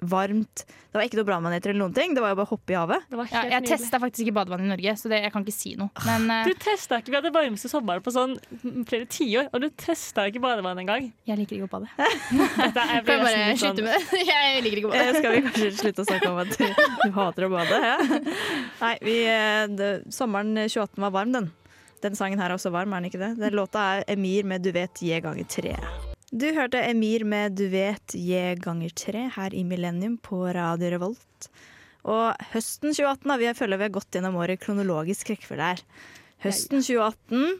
Speaker 1: varmt. Det var ikke noe brannmaneter eller noen ting, det var jo bare å hoppe i havet.
Speaker 2: Det var
Speaker 3: Ja,
Speaker 2: helt
Speaker 3: jeg
Speaker 2: nydelig.
Speaker 3: testa faktisk ikke badevann i Norge, så det, jeg kan ikke si noe. Men eh,
Speaker 2: Du testa ikke, Vi hadde varmeste sommeren på sånn flere tiår, og du testa ikke badevann engang.
Speaker 3: jeg liker ikke å bade.
Speaker 2: Dette er- jeg blir nesten litt sånn-
Speaker 3: med det? <laughs> Jeg liker ikke å
Speaker 1: Eh, skal vi kanskje slutte å snakke om at du hater å bade? Ja? Nei, vi, eh, det, sommeren 2018 var varm, den. Den sangen her er også varm, er den ikke det? Den låta er Emir med Du vet je ganger tre. Du hørte Emir med Du vet je ganger tre her i Millennium på Radio Revolt. Og høsten 2018, da, vi føler vi har gått gjennom året kronologisk rekkefølge her. Høsten 2018,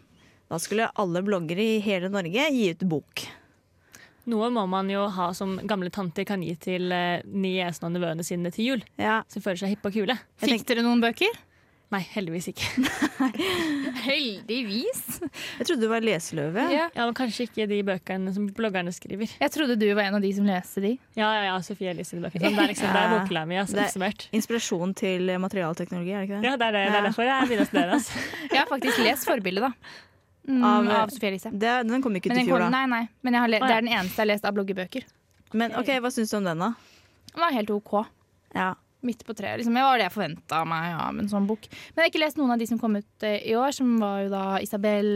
Speaker 1: da skulle alle bloggere i hele Norge gi ut bok.
Speaker 2: Noe må man jo ha som gamle tanter kan gi til eh, niesen og nevøene sine til jul,
Speaker 1: Ja,
Speaker 2: som føler seg hippe og kule.
Speaker 3: Eh, Fikk dere noen bøker?
Speaker 2: Nei, heldigvis ikke.
Speaker 3: Heldigvis.
Speaker 1: jeg trodde du var leseløve.
Speaker 2: <laughs> Ja, men Kanskje ikke de bøkene som bloggerne skriver.
Speaker 3: Jeg trodde du var en av de som leste de.
Speaker 2: Ja, ja, ja, Sofie Elise sine bøker. Sånn, Det er liksom, det er
Speaker 1: Ja.
Speaker 2: bokhylla mi, altså,
Speaker 1: Det-
Speaker 2: oppsummert.
Speaker 1: Inspirasjon til materialteknologi, er det ikke det?
Speaker 2: Ja, det er, det, det er derfor jeg begynner å studere. Altså. <laughs>
Speaker 3: Jeg har faktisk lest forbildet, da. Mm,
Speaker 1: Av-
Speaker 3: av, Sofie Elise.
Speaker 1: det den kom ikke ut
Speaker 3: Men
Speaker 1: i
Speaker 3: den
Speaker 1: fjor, da.
Speaker 3: kom, nei, nei. Men jeg har le,
Speaker 2: eh, Å, ja.
Speaker 3: det er den eneste jeg har lest av bloggebøker.
Speaker 1: Men ok, hva syns du om den, da?
Speaker 3: Den var helt OK.
Speaker 1: Ja.
Speaker 3: Midt på treet. Liksom. Det var det jeg forventa meg av en sånn bok. Men jeg har ikke lest noen av de som kom ut eh, i år, som var jo da Isabel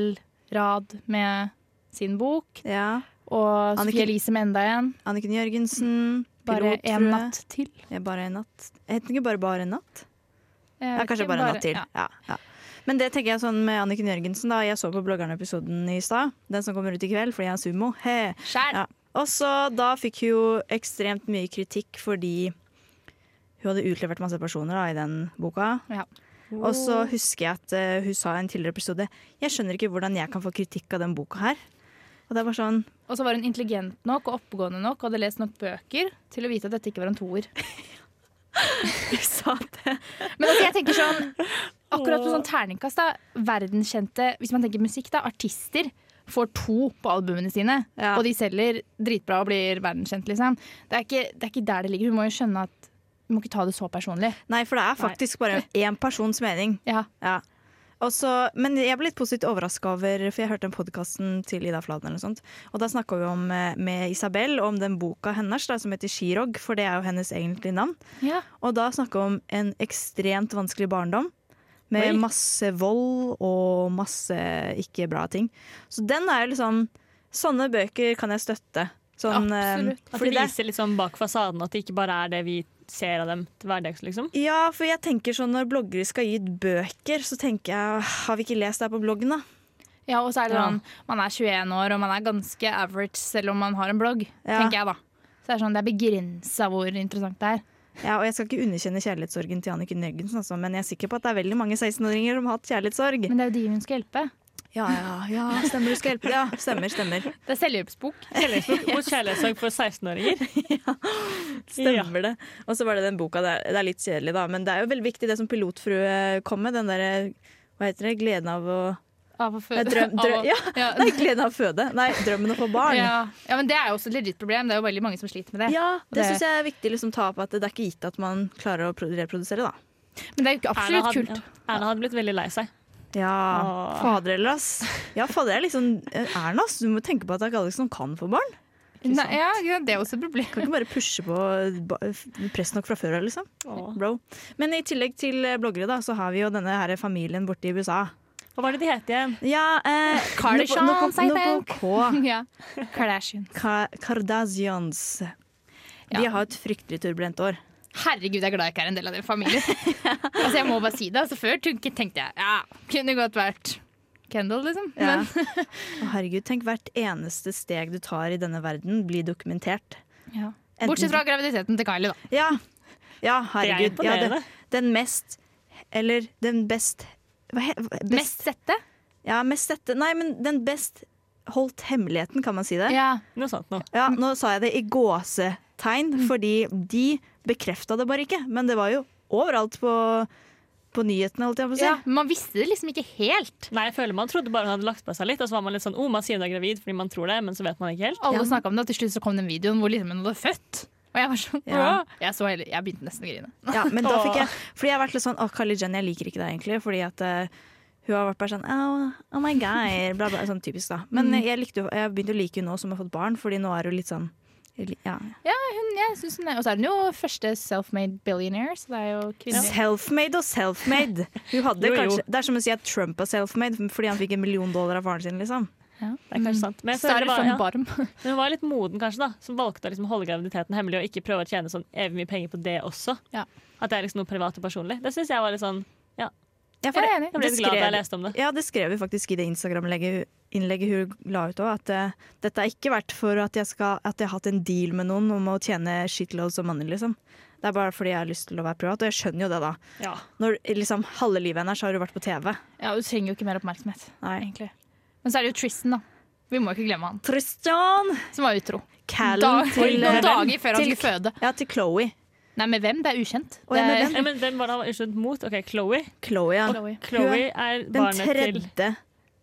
Speaker 3: Rad med sin bok.
Speaker 1: Ja.
Speaker 3: Og Sophie
Speaker 1: Anniken-
Speaker 3: Elise med enda en.
Speaker 1: Anniken Jørgensen.
Speaker 3: Bare
Speaker 1: Pilot, tror
Speaker 3: en
Speaker 1: jeg.
Speaker 3: natt til.
Speaker 1: Ja, bare en natt. Heter den ikke bare 'Bare en natt'?
Speaker 3: Jeg
Speaker 1: Ja,
Speaker 3: vet
Speaker 1: kanskje
Speaker 3: Eh, ikke,
Speaker 1: bare en natt til.
Speaker 3: ja.
Speaker 1: Ja, ja. Men det tenker jeg sånn med Anniken Jørgensen. da Jeg så på Bloggerne-episoden i stad. Den som kommer ut i kveld fordi jeg er sumo. He.
Speaker 3: Skjær.
Speaker 1: Ja. Og så da fikk hun jo ekstremt mye kritikk fordi hun hadde utlevert masse personer da, i den boka.
Speaker 3: Ja.
Speaker 1: Og så husker jeg at eh, hun sa i en tidligere episode Jeg skjønner ikke hvordan jeg kan få kritikk av den boka her. Og det er bare sånn <laughs>
Speaker 3: Og så var hun intelligent nok og oppegående nok og hadde lest nok bøker til å vite at dette ikke var en toer.
Speaker 1: Hun sa det.
Speaker 3: Men altså, jeg tenker sånn Akkurat på sånn terningkast, da. Verdenskjente, hvis man tenker musikk, da. Artister får to på albumene sine.
Speaker 1: Ja.
Speaker 3: Og de selger dritbra og blir verdenskjent, liksom. Det er, ikke, det er ikke der det ligger. Hun må jo skjønne at hun må ikke ta det så personlig.
Speaker 1: Nei, for det er faktisk bare én persons mening.
Speaker 3: Ja.
Speaker 1: Ja. Og så- men jeg ble litt positivt overraska over For jeg hørte den podkasten til Ida Fladen, eller noe sånt, og da snakka vi om, eh, med Isabel om den boka hennes da, som heter Skirog, for det er jo hennes egentlige navn. Og da snakka hun om en ekstremt vanskelig barndom. Med
Speaker 2: Oi.
Speaker 1: masse vold og masse ikke bra ting. Så den er jo liksom Sånne bøker kan jeg støtte. Sånn, eh,
Speaker 3: Absolutt.
Speaker 2: At
Speaker 1: fordi
Speaker 2: det
Speaker 1: det-
Speaker 2: viser liksom bak fasaden at det ikke bare er det vi ser av dem til hverdags, <laughs> liksom.
Speaker 1: Ja, for jeg tenker sånn når bloggere skal gi ut bøker, så tenker jeg Har vi ikke lest det her på bloggen, da?
Speaker 3: Ja, og så er det
Speaker 2: Ja.
Speaker 3: sånn, man er 21 år og man er ganske average selv om man har en blogg,
Speaker 1: Ja.
Speaker 3: tenker jeg da. Så det er sånn, det er begrensa hvor interessant det er.
Speaker 1: Ja, og Jeg skal ikke underkjenne kjærlighetssorgen til Anniken Jørgensen, altså, men jeg er sikker på at det er veldig mange 16-åringer som har hatt kjærlighetssorg.
Speaker 3: Men det er jo de hun skal hjelpe.
Speaker 1: Ja, ja, ja, stemmer, du skal hjelpe. Ja, stemmer, stemmer.
Speaker 3: Det er selvhjelpsbok.
Speaker 2: Kjærlighetssorg mot kjærlighetssorg for <laughs> 16-åringer.
Speaker 1: Stemmer det. Og så var det den boka der. Det er litt kjedelig, da, men det er jo veldig viktig det som pilotfrue kom med. Den derre Hva heter det? Gleden av å <laughs>
Speaker 3: Av å
Speaker 1: Nei,
Speaker 3: føde.
Speaker 1: drøm, drø-
Speaker 3: <laughs> av å-
Speaker 1: ja,
Speaker 3: ja.
Speaker 1: <laughs> nei, gleden av å føde. Nei, drømmen om å få barn. Ja,
Speaker 3: Ja. ja, men det er jo også et legit problem. Det er jo veldig mange som sliter med det.
Speaker 1: Det syns jeg er viktig å liksom, ta opp, at det er ikke gitt at man klarer å produ- reprodusere, da.
Speaker 3: Men det er jo ikke absolutt
Speaker 2: hadde,
Speaker 3: kult.
Speaker 2: ja. Erna hadde blitt veldig lei seg.
Speaker 1: Ja,
Speaker 2: Åh.
Speaker 1: fader heller, ass. Ja, fader, jeg er liksom Erna, ass. Du må tenke på at det er ikke alle som kan få barn.
Speaker 2: Ikke
Speaker 3: Nei,
Speaker 2: sant?
Speaker 3: ja, ja, det er også et problem.
Speaker 1: Kan ikke bare pushe på ba- press nok fra før av, liksom.
Speaker 2: Åh.
Speaker 1: Bro. Men i tillegg til eh, bloggere, da, så har vi jo denne her familien borte i USA.
Speaker 2: Hva var det de het igjen?
Speaker 1: Ja, eh,
Speaker 3: Kardashians,
Speaker 1: noe på- noe
Speaker 3: I
Speaker 1: på K.
Speaker 3: <laughs> Ja. Kardashian.
Speaker 1: Ka Kardashians. De
Speaker 3: Ja.
Speaker 1: har et fryktelig turbulent år.
Speaker 3: Herregud, jeg er glad jeg ikke er en del av
Speaker 2: <laughs>
Speaker 3: den familien. altså, jeg må bare si det. Altså, før tenkte jeg ja, kunne godt vært Kendal, liksom.
Speaker 1: Ja.
Speaker 3: Men
Speaker 1: Å, herregud, tenk hvert eneste steg du tar i denne verden, blir dokumentert.
Speaker 3: Ja.
Speaker 1: Enten-
Speaker 3: Bortsett fra graviditeten til Kylie, da.
Speaker 1: Ja, ja herregud.
Speaker 2: Det er
Speaker 1: Ja,
Speaker 2: imponerende.
Speaker 1: den mest Eller den best hva he, hva- best,
Speaker 3: Mest sette?
Speaker 1: Ja, mest dette Nei, men den best holdt hemmeligheten, kan man si det.
Speaker 3: Ja.
Speaker 2: Noe sånt noe.
Speaker 1: Ja, nå sa jeg det i gåsetegn, fordi de bekrefta det bare ikke. Men det var jo overalt på, på nyhetene, holdt jeg på å si.
Speaker 3: ja. Men man visste det liksom ikke helt.
Speaker 2: Nei, jeg føler Man trodde bare hun hadde lagt på seg litt, og så var man litt sånn oh, man sier hun er gravid fordi man tror det, men så vet man ikke helt.
Speaker 3: Alle
Speaker 1: Ja.
Speaker 3: snakket snakka om det, og til slutt så kom den videoen hvor liksom hun hadde født. Og jeg var sånn
Speaker 1: Ja.
Speaker 3: «Åh!» jeg, så hele, jeg begynte nesten å grine.
Speaker 1: Ja, men da fikk jeg Fordi jeg har vært litt sånn Å, Kylie Jenner, jeg liker ikke deg egentlig. Fordi at eh, hun har vært bare sånn Oh, oh my god. Bla, bla. Sånn typisk, da. Men jeg, likte, jo- jeg begynte å like henne nå som jeg har fått barn, fordi nå er hun litt sånn ja.
Speaker 3: Hun- Mm, jeg synes hun er- Og så er hun jo første self-made billionaire, så det er jo kvinner.
Speaker 1: Selfmade og selfmade. Hun hadde
Speaker 2: Jo, jo.
Speaker 1: kanskje Det er som å si at Trump er selfmade fordi han fikk en million dollar av faren sin, liksom.
Speaker 2: Det er kanskje sant. Men jeg
Speaker 3: Sarah
Speaker 2: føler bare,
Speaker 3: von
Speaker 2: ja.
Speaker 3: Barm.
Speaker 2: Men hun var litt moden, kanskje, da som valgte å liksom holde graviditeten hemmelig og ikke prøve å tjene sånn evig mye penger på det også.
Speaker 3: Ja.
Speaker 2: At det er liksom noe privat og personlig. Det syns jeg var litt sånn
Speaker 1: Ja,
Speaker 3: Jeg er enig.
Speaker 2: Jeg ble
Speaker 1: det
Speaker 2: litt glad da
Speaker 1: skrev-
Speaker 2: jeg leste om det.
Speaker 1: Ja, det skrev vi faktisk i det Instagram-innlegget hun la ut òg. At eh, dette er ikke verdt for at jeg, skal, at jeg har hatt en deal med noen om å tjene shitloads of money, liksom. Det er bare fordi jeg har lyst til å være privat, og jeg skjønner jo det, da.
Speaker 2: Ja.
Speaker 1: Når liksom halve livet hennes har hun vært på TV.
Speaker 3: <laughs> Ja, hun trenger jo ikke mer oppmerksomhet,
Speaker 1: Nei.
Speaker 3: egentlig. Men så er det jo Tristan, da. Vi må ikke glemme han,
Speaker 1: Tristan!
Speaker 3: som var utro.
Speaker 1: Callen
Speaker 3: Dag,
Speaker 1: til
Speaker 3: <laughs> noen
Speaker 1: eh,
Speaker 3: dager før han
Speaker 1: til-
Speaker 3: skulle føde.
Speaker 1: Ja, til Chloe.
Speaker 3: Nei, med hvem? Det er ukjent.
Speaker 1: Å, ja,
Speaker 3: Det
Speaker 1: med
Speaker 3: er-
Speaker 1: hvem?
Speaker 2: Nei, men hvem var det han var uskyldt mot? Ok, Chloe.
Speaker 1: Chloe, ja.
Speaker 3: Chloe.
Speaker 2: Chloe er
Speaker 1: Den
Speaker 2: barnet til
Speaker 1: tredje,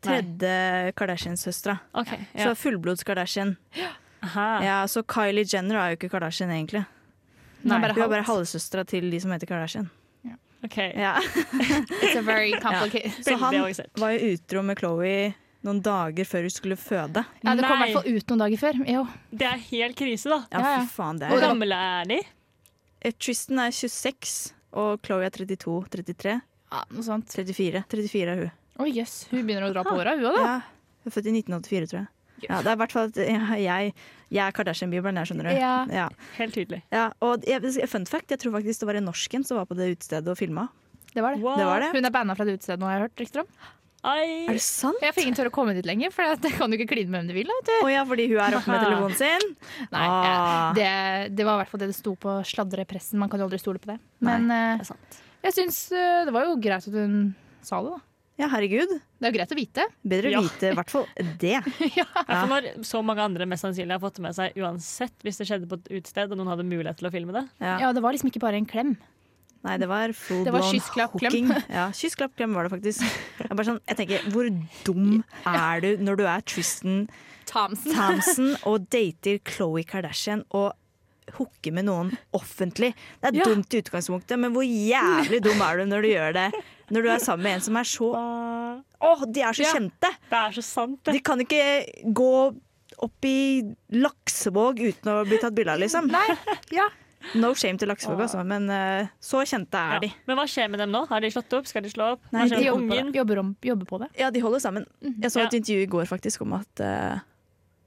Speaker 1: tredje Kardashian-søstera.
Speaker 2: Ok,
Speaker 1: Så
Speaker 2: ja.
Speaker 1: fullblods Kardashian.
Speaker 2: Aha.
Speaker 1: Ja, så Kylie Jenner er jo ikke Kardashian, egentlig.
Speaker 3: Hun er
Speaker 2: Nei,
Speaker 3: bare
Speaker 1: Hun er bare
Speaker 3: halvt.
Speaker 1: halvsøstera til de som heter Kardashian.
Speaker 2: Ok,
Speaker 1: Ja.
Speaker 3: It's
Speaker 1: <laughs>
Speaker 3: a very complicated
Speaker 1: Så
Speaker 2: Veldig
Speaker 1: han
Speaker 2: organisert.
Speaker 1: var jo utro med Chloe noen dager før hun skulle føde.
Speaker 3: Ja, det kom i
Speaker 2: Nei.
Speaker 3: hvert fall ut noen dager før. Jo.
Speaker 2: Det er helt krise, da.
Speaker 1: Ja,
Speaker 3: Ja, ja.
Speaker 1: fy faen, det
Speaker 2: Hvor
Speaker 1: er.
Speaker 2: gamle er de?
Speaker 1: Eh, Tristan er 26, og Chloe er 32, 33,
Speaker 3: Ja, noe sånt.
Speaker 1: 34. 34 er hun.
Speaker 3: Å jøss, hun begynner å dra på åra, hun òg, da.
Speaker 1: Ja, hun er født i 1984, tror jeg. Ja, det er i hvert fall at jeg, jeg er Kardashian-bibelen, jeg, skjønner du.
Speaker 3: Ja.
Speaker 1: Ja.
Speaker 2: Helt tydelig.
Speaker 1: Ja, og jeg, fun fact, jeg tror faktisk det var en norsken som var på det utestedet og filma.
Speaker 3: Det var det.
Speaker 2: Wow.
Speaker 1: Det var det.
Speaker 3: Hun er banna fra det utestedet nå, har jeg hørt rykter om.
Speaker 2: Ai.
Speaker 1: Er det sant?
Speaker 3: Jeg får ingen tør å komme dit lenger, for det kan du ikke kline med hvem du vil. Da, vet du.
Speaker 1: Å ja, fordi hun er oppe med telefonen sin?
Speaker 3: Nei,
Speaker 1: Ah.
Speaker 3: det, det var i hvert fall det det sto på sladrepressen. Man kan jo aldri stole på det. Men
Speaker 2: Det
Speaker 3: eh,
Speaker 2: er sant.
Speaker 3: jeg syns eh, det var jo greit at hun sa det, da.
Speaker 1: Ja, herregud.
Speaker 3: Det er jo greit å vite.
Speaker 1: Bedre å
Speaker 2: Ja.
Speaker 1: vite i hvert fall det.
Speaker 2: Ja. For når så mange andre mest sannsynlig har fått det med seg uansett, hvis det skjedde på et utested og noen hadde mulighet til å filme det.
Speaker 1: Ja.
Speaker 3: Ja, det var liksom ikke bare en klem.
Speaker 1: Nei, det var full
Speaker 3: Det var
Speaker 1: blown
Speaker 3: kyss, klapp, klem.
Speaker 1: hooking. Ja, kyss, klapp, klem var det faktisk. Jeg, bare sånn, jeg tenker, Hvor dum er du når du er Tristan
Speaker 3: Thompson.
Speaker 1: Thompson og dater Khloé Kardashian og hooker med noen offentlig? Det er
Speaker 3: Ja.
Speaker 1: dumt i utgangspunktet, men hvor jævlig dum er du når du gjør det? Når du er sammen med en som er så Å, de er så
Speaker 3: Ja.
Speaker 1: kjente!
Speaker 2: Det er så sant,
Speaker 1: De
Speaker 2: det.
Speaker 1: kan ikke gå opp i Laksevåg uten å bli tatt bilde av, liksom.
Speaker 3: Ja.
Speaker 1: No shame til Laksevåg, altså, men eh, så kjente er
Speaker 2: Ja.
Speaker 1: de.
Speaker 2: Men hva skjer med dem nå? Har de slått opp? Skal de slå opp?
Speaker 1: Nei,
Speaker 2: Hva
Speaker 1: de
Speaker 2: skjer
Speaker 3: De
Speaker 2: med
Speaker 3: jobber på
Speaker 2: ungen?
Speaker 3: det. Jobber, om, jobber på det.
Speaker 1: Ja, de holder sammen.
Speaker 3: Mhm,
Speaker 1: Jeg så et
Speaker 2: Ja.
Speaker 1: intervju i går faktisk om at eh,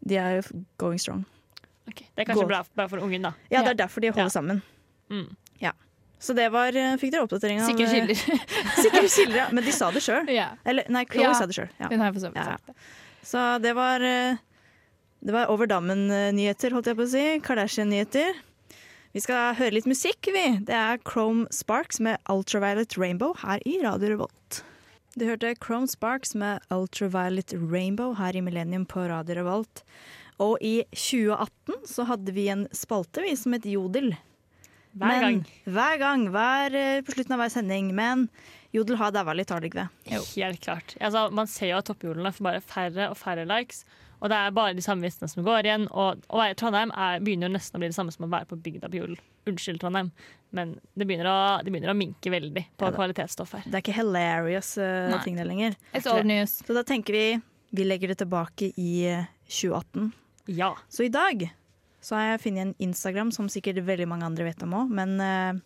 Speaker 1: de er jo going strong.
Speaker 2: Ok, Det er kanskje
Speaker 1: Gå.
Speaker 2: bra, bra for ungen, da.
Speaker 1: Ja,
Speaker 3: Ja.
Speaker 1: det er derfor de holder
Speaker 2: Ja.
Speaker 1: sammen.
Speaker 2: Mm.
Speaker 1: Ja. Så det var eh, Fikk dere oppdatering av
Speaker 3: Sikre
Speaker 1: <laughs>
Speaker 3: kilder.
Speaker 1: Sikkert kilder, ja. Men de sa det sjøl.
Speaker 3: <laughs> ja.
Speaker 1: Eller nei, Chloé
Speaker 3: Ja.
Speaker 1: sa det sjøl. Ja.
Speaker 3: Hun har jo for så vidt
Speaker 1: Ja.
Speaker 3: sagt det.
Speaker 1: Så det var eh, Det var over dammen-nyheter, holdt jeg på å si. Kardashian-nyheter. Vi skal høre litt musikk, vi. Det er Chrome Sparks med Ultraviolet Rainbow her i Radio Revolt. Du hørte Chrome Sparks med Ultraviolet Rainbow her i Millennium på Radio Revolt. Og i 2018 så hadde vi en spalte vi som het Jodel.
Speaker 2: Hver gang.
Speaker 1: Hver gang, hver, eh, på slutten av hver sending. Men Jodel har daua litt, har det ikke det?
Speaker 2: Helt klart. Altså, man ser jo at topphjulene får bare færre og færre likes. Og det er bare de samme vitsene som går igjen. Og å være i Trondheim er, begynner jo nesten å bli det samme som å være på bygda på jul. Unnskyld, Trondheim. Men det begynner å, det begynner å minke veldig på
Speaker 1: Ja da.
Speaker 2: kvalitetsstoff her.
Speaker 1: Det er ikke hilarious eh,
Speaker 2: Nei.
Speaker 1: ting det lenger.
Speaker 3: It's old news. <laughs>
Speaker 1: Så da tenker vi vi legger det tilbake i eh, 2018.
Speaker 2: Ja.
Speaker 1: Så i dag så har jeg funnet en Instagram som sikkert veldig mange andre vet om òg. Men eh,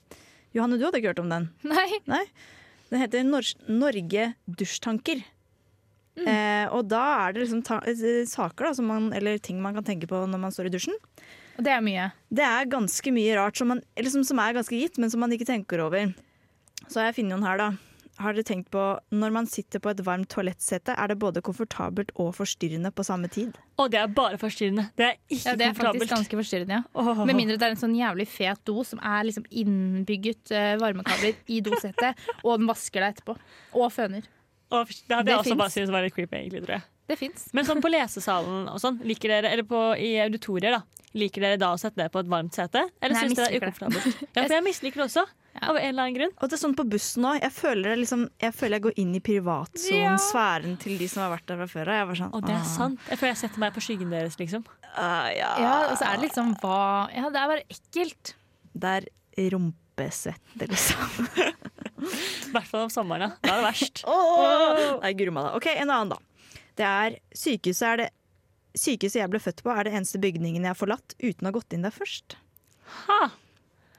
Speaker 1: Johanne, du hadde ikke hørt om den.
Speaker 3: Nei.
Speaker 1: Den heter Nor Norge dusjtanker. Eh, og da er det liksom ta eh, saker da, som man, eller ting man kan tenke på når man står i dusjen.
Speaker 3: Og det er mye.
Speaker 1: Det er ganske mye rart som, man, eller som, som er ganske gitt, men som man ikke tenker over. Så har jeg funnet noen her, da. Har dere tenkt på når man sitter på et varmt toalettsete, er det både komfortabelt og forstyrrende på samme tid?
Speaker 2: Og det er bare forstyrrende. Det er ikke
Speaker 3: Ja, det er faktisk
Speaker 2: komfortabelt.
Speaker 3: ganske forstyrrende, ja.
Speaker 2: Åh.
Speaker 3: Med mindre det er en sånn jævlig fet do som er liksom innbygget eh, varmekabler i <laughs> dosettet, og den vasker deg etterpå. Og føner.
Speaker 2: Åh, det hadde
Speaker 3: Det
Speaker 2: jeg også
Speaker 3: finnes.
Speaker 2: bare syntes var litt creepy, egentlig, tror jeg.
Speaker 3: Det fins.
Speaker 2: Men sånn på lesesalen og sånn, liker dere, eller på, i auditorier, da, liker dere da å sette det på et varmt sete? Eller
Speaker 3: Nei,
Speaker 2: syns
Speaker 3: jeg
Speaker 2: dere det er
Speaker 3: misliker
Speaker 2: ukomfortabelt?
Speaker 3: <laughs>
Speaker 2: Ja, for jeg misliker det også,
Speaker 3: Ja.
Speaker 2: av en eller annen grunn.
Speaker 1: Og det er sånn på bussen òg. Jeg, føler det liksom, jeg føler jeg går inn i privatsonen,
Speaker 3: Ja.
Speaker 1: sfæren til de som har vært der fra før. Og jeg er bare sånn,
Speaker 2: Og det
Speaker 1: ah,
Speaker 2: er sant. Jeg føler jeg setter meg på skyggen deres, liksom.
Speaker 1: ah, ja.
Speaker 3: Ja, og så er det litt sånn hva Ja, det er bare ekkelt.
Speaker 1: Det er rumpesvette,
Speaker 3: <laughs>
Speaker 1: liksom.
Speaker 2: I hvert fall om sommeren, da. Da er det verst.
Speaker 1: Åh! Nei, guri malla. OK, en annen, da. Det er sykehuset er det Sykehuset jeg ble født på, er det eneste bygningen jeg har forlatt uten å ha gått inn der først.
Speaker 2: Ha!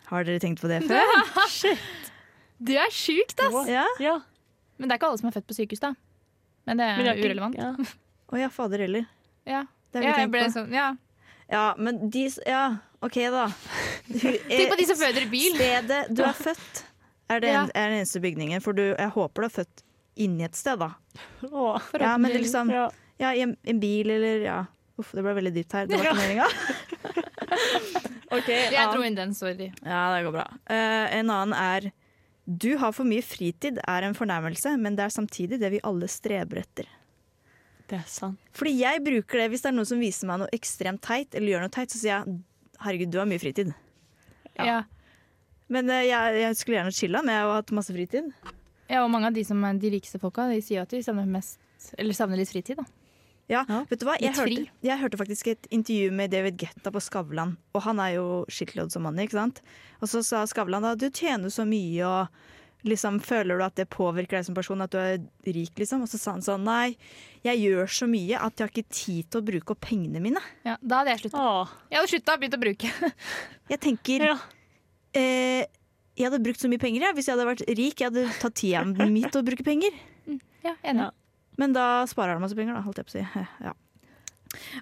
Speaker 1: Har dere tenkt på det før?
Speaker 3: <laughs>
Speaker 2: Shit.
Speaker 3: Det er sjukt, ass!
Speaker 1: Ja.
Speaker 2: Ja.
Speaker 3: Men det er ikke alle som er født på sykehus, da. Men det
Speaker 2: Men det
Speaker 3: er
Speaker 2: er ikke-
Speaker 3: Eh, urelevant. <laughs>
Speaker 2: Ja.
Speaker 1: Å ja, fader heller.
Speaker 3: Ja.
Speaker 1: Det har vi
Speaker 3: Ja, jeg
Speaker 1: tenkt
Speaker 3: ble
Speaker 1: på.
Speaker 3: sånn, ja.
Speaker 1: Ja, men de s- Ja, OK,
Speaker 3: <laughs>
Speaker 1: da.
Speaker 3: Tenk på de som føder i bil!
Speaker 1: Stedet du
Speaker 3: <laughs>
Speaker 1: er født, er, det
Speaker 3: Ja.
Speaker 1: en, er den eneste bygningen. For du, jeg håper du er født inni et sted, da. Ja, men
Speaker 2: Åh.
Speaker 1: det er
Speaker 3: Forhåpentligvis.
Speaker 1: liksom,
Speaker 2: Ja.
Speaker 1: ja, i en, en bil eller ja. Uff, det ble veldig dypt her. Det var ikke meninga.
Speaker 3: <laughs>
Speaker 1: okay, en
Speaker 3: Jeg dro
Speaker 1: annen-
Speaker 3: inn den, sorry.
Speaker 1: ja, det går bra. Eh, en annen er du har for mye fritid er en fornærmelse, men det er samtidig det vi alle streber etter.
Speaker 2: Det er sant.
Speaker 1: Fordi jeg bruker det hvis det er noen som viser meg noe ekstremt teit, eller gjør noe teit, så sier jeg herregud, du har mye fritid. Ja.
Speaker 3: Ja.
Speaker 1: Men eh, jeg, jeg skulle gjerne chilla med å ha hatt masse fritid.
Speaker 3: ja, og mange av de som er de rikeste folka, de sier at de savner mest Eller savner litt fritid, da.
Speaker 1: Ja, vet du hva? Jeg
Speaker 3: Litt fri.
Speaker 1: hørte, jeg hørte faktisk et intervju med David Getta på Skavlan. Og han er jo shitload som mann, ikke sant? Og så sa Skavlan da du tjener så mye og liksom føler du at det påvirker deg som person at du er rik, liksom? Og så sa han sånn nei, jeg gjør så mye at jeg har ikke tid til å bruke opp pengene mine.
Speaker 3: Ja, da hadde jeg slutta.
Speaker 2: Åh.
Speaker 3: Jeg hadde slutta og begynt å bruke.
Speaker 1: Jeg tenker
Speaker 2: Ja.
Speaker 1: eh, jeg hadde brukt så mye penger jeg, hvis jeg hadde vært rik. Jeg hadde tatt tida
Speaker 3: <laughs>
Speaker 1: mi til å bruke penger.
Speaker 3: Ja, enig.
Speaker 2: Ja.
Speaker 1: Men da sparer han masse penger, da, holdt jeg på å si. <laughs> Ja.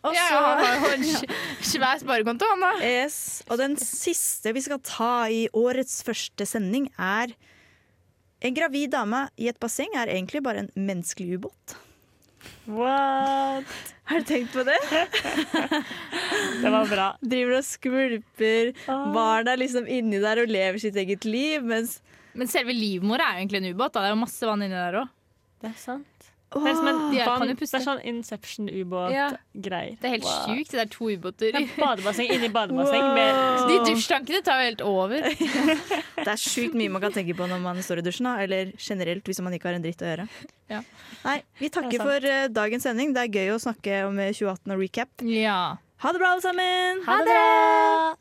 Speaker 1: Og
Speaker 3: Ja,
Speaker 1: så
Speaker 3: han har jo en sj- <laughs> svær sparekonto, han da.
Speaker 1: Yes. Og den siste vi skal ta i årets første sending, er En gravid dame i et basseng er egentlig bare en menneskelig ubåt.
Speaker 2: What?
Speaker 1: Har du tenkt på det?
Speaker 2: Det var bra.
Speaker 1: Driver og skvulper.
Speaker 2: Ah.
Speaker 1: Barna er liksom inni der og lever sitt eget liv, mens
Speaker 3: Men selve livmora er jo egentlig en ubåt. da. Det er jo masse vann inni der òg.
Speaker 2: Det er sant.
Speaker 1: Åh,
Speaker 2: Det er som en
Speaker 3: De er- Ah. kan
Speaker 2: vann,
Speaker 3: jo
Speaker 2: det
Speaker 3: puste.
Speaker 2: er sånn
Speaker 3: Ja.
Speaker 2: Inception-ubåt-greier.
Speaker 3: Det er helt
Speaker 2: Wow.
Speaker 3: sjukt. Det er to ubåter.
Speaker 2: Det er badebasseng inni badebasseng.
Speaker 1: Wow.
Speaker 2: Med,
Speaker 3: De dusjtankene tar jo helt over.
Speaker 1: det er sjukt mye man kan tenke på når man står i dusjen, da. Eller generelt hvis man ikke har en dritt å gjøre.
Speaker 3: Ja.
Speaker 1: Nei, vi
Speaker 2: Det er
Speaker 1: takker
Speaker 2: sant.
Speaker 1: for eh, dagens sending. Det er gøy å snakke om eh, 2018 og recap.
Speaker 3: Ja.
Speaker 1: Ha det bra, alle sammen!
Speaker 2: ha det bra!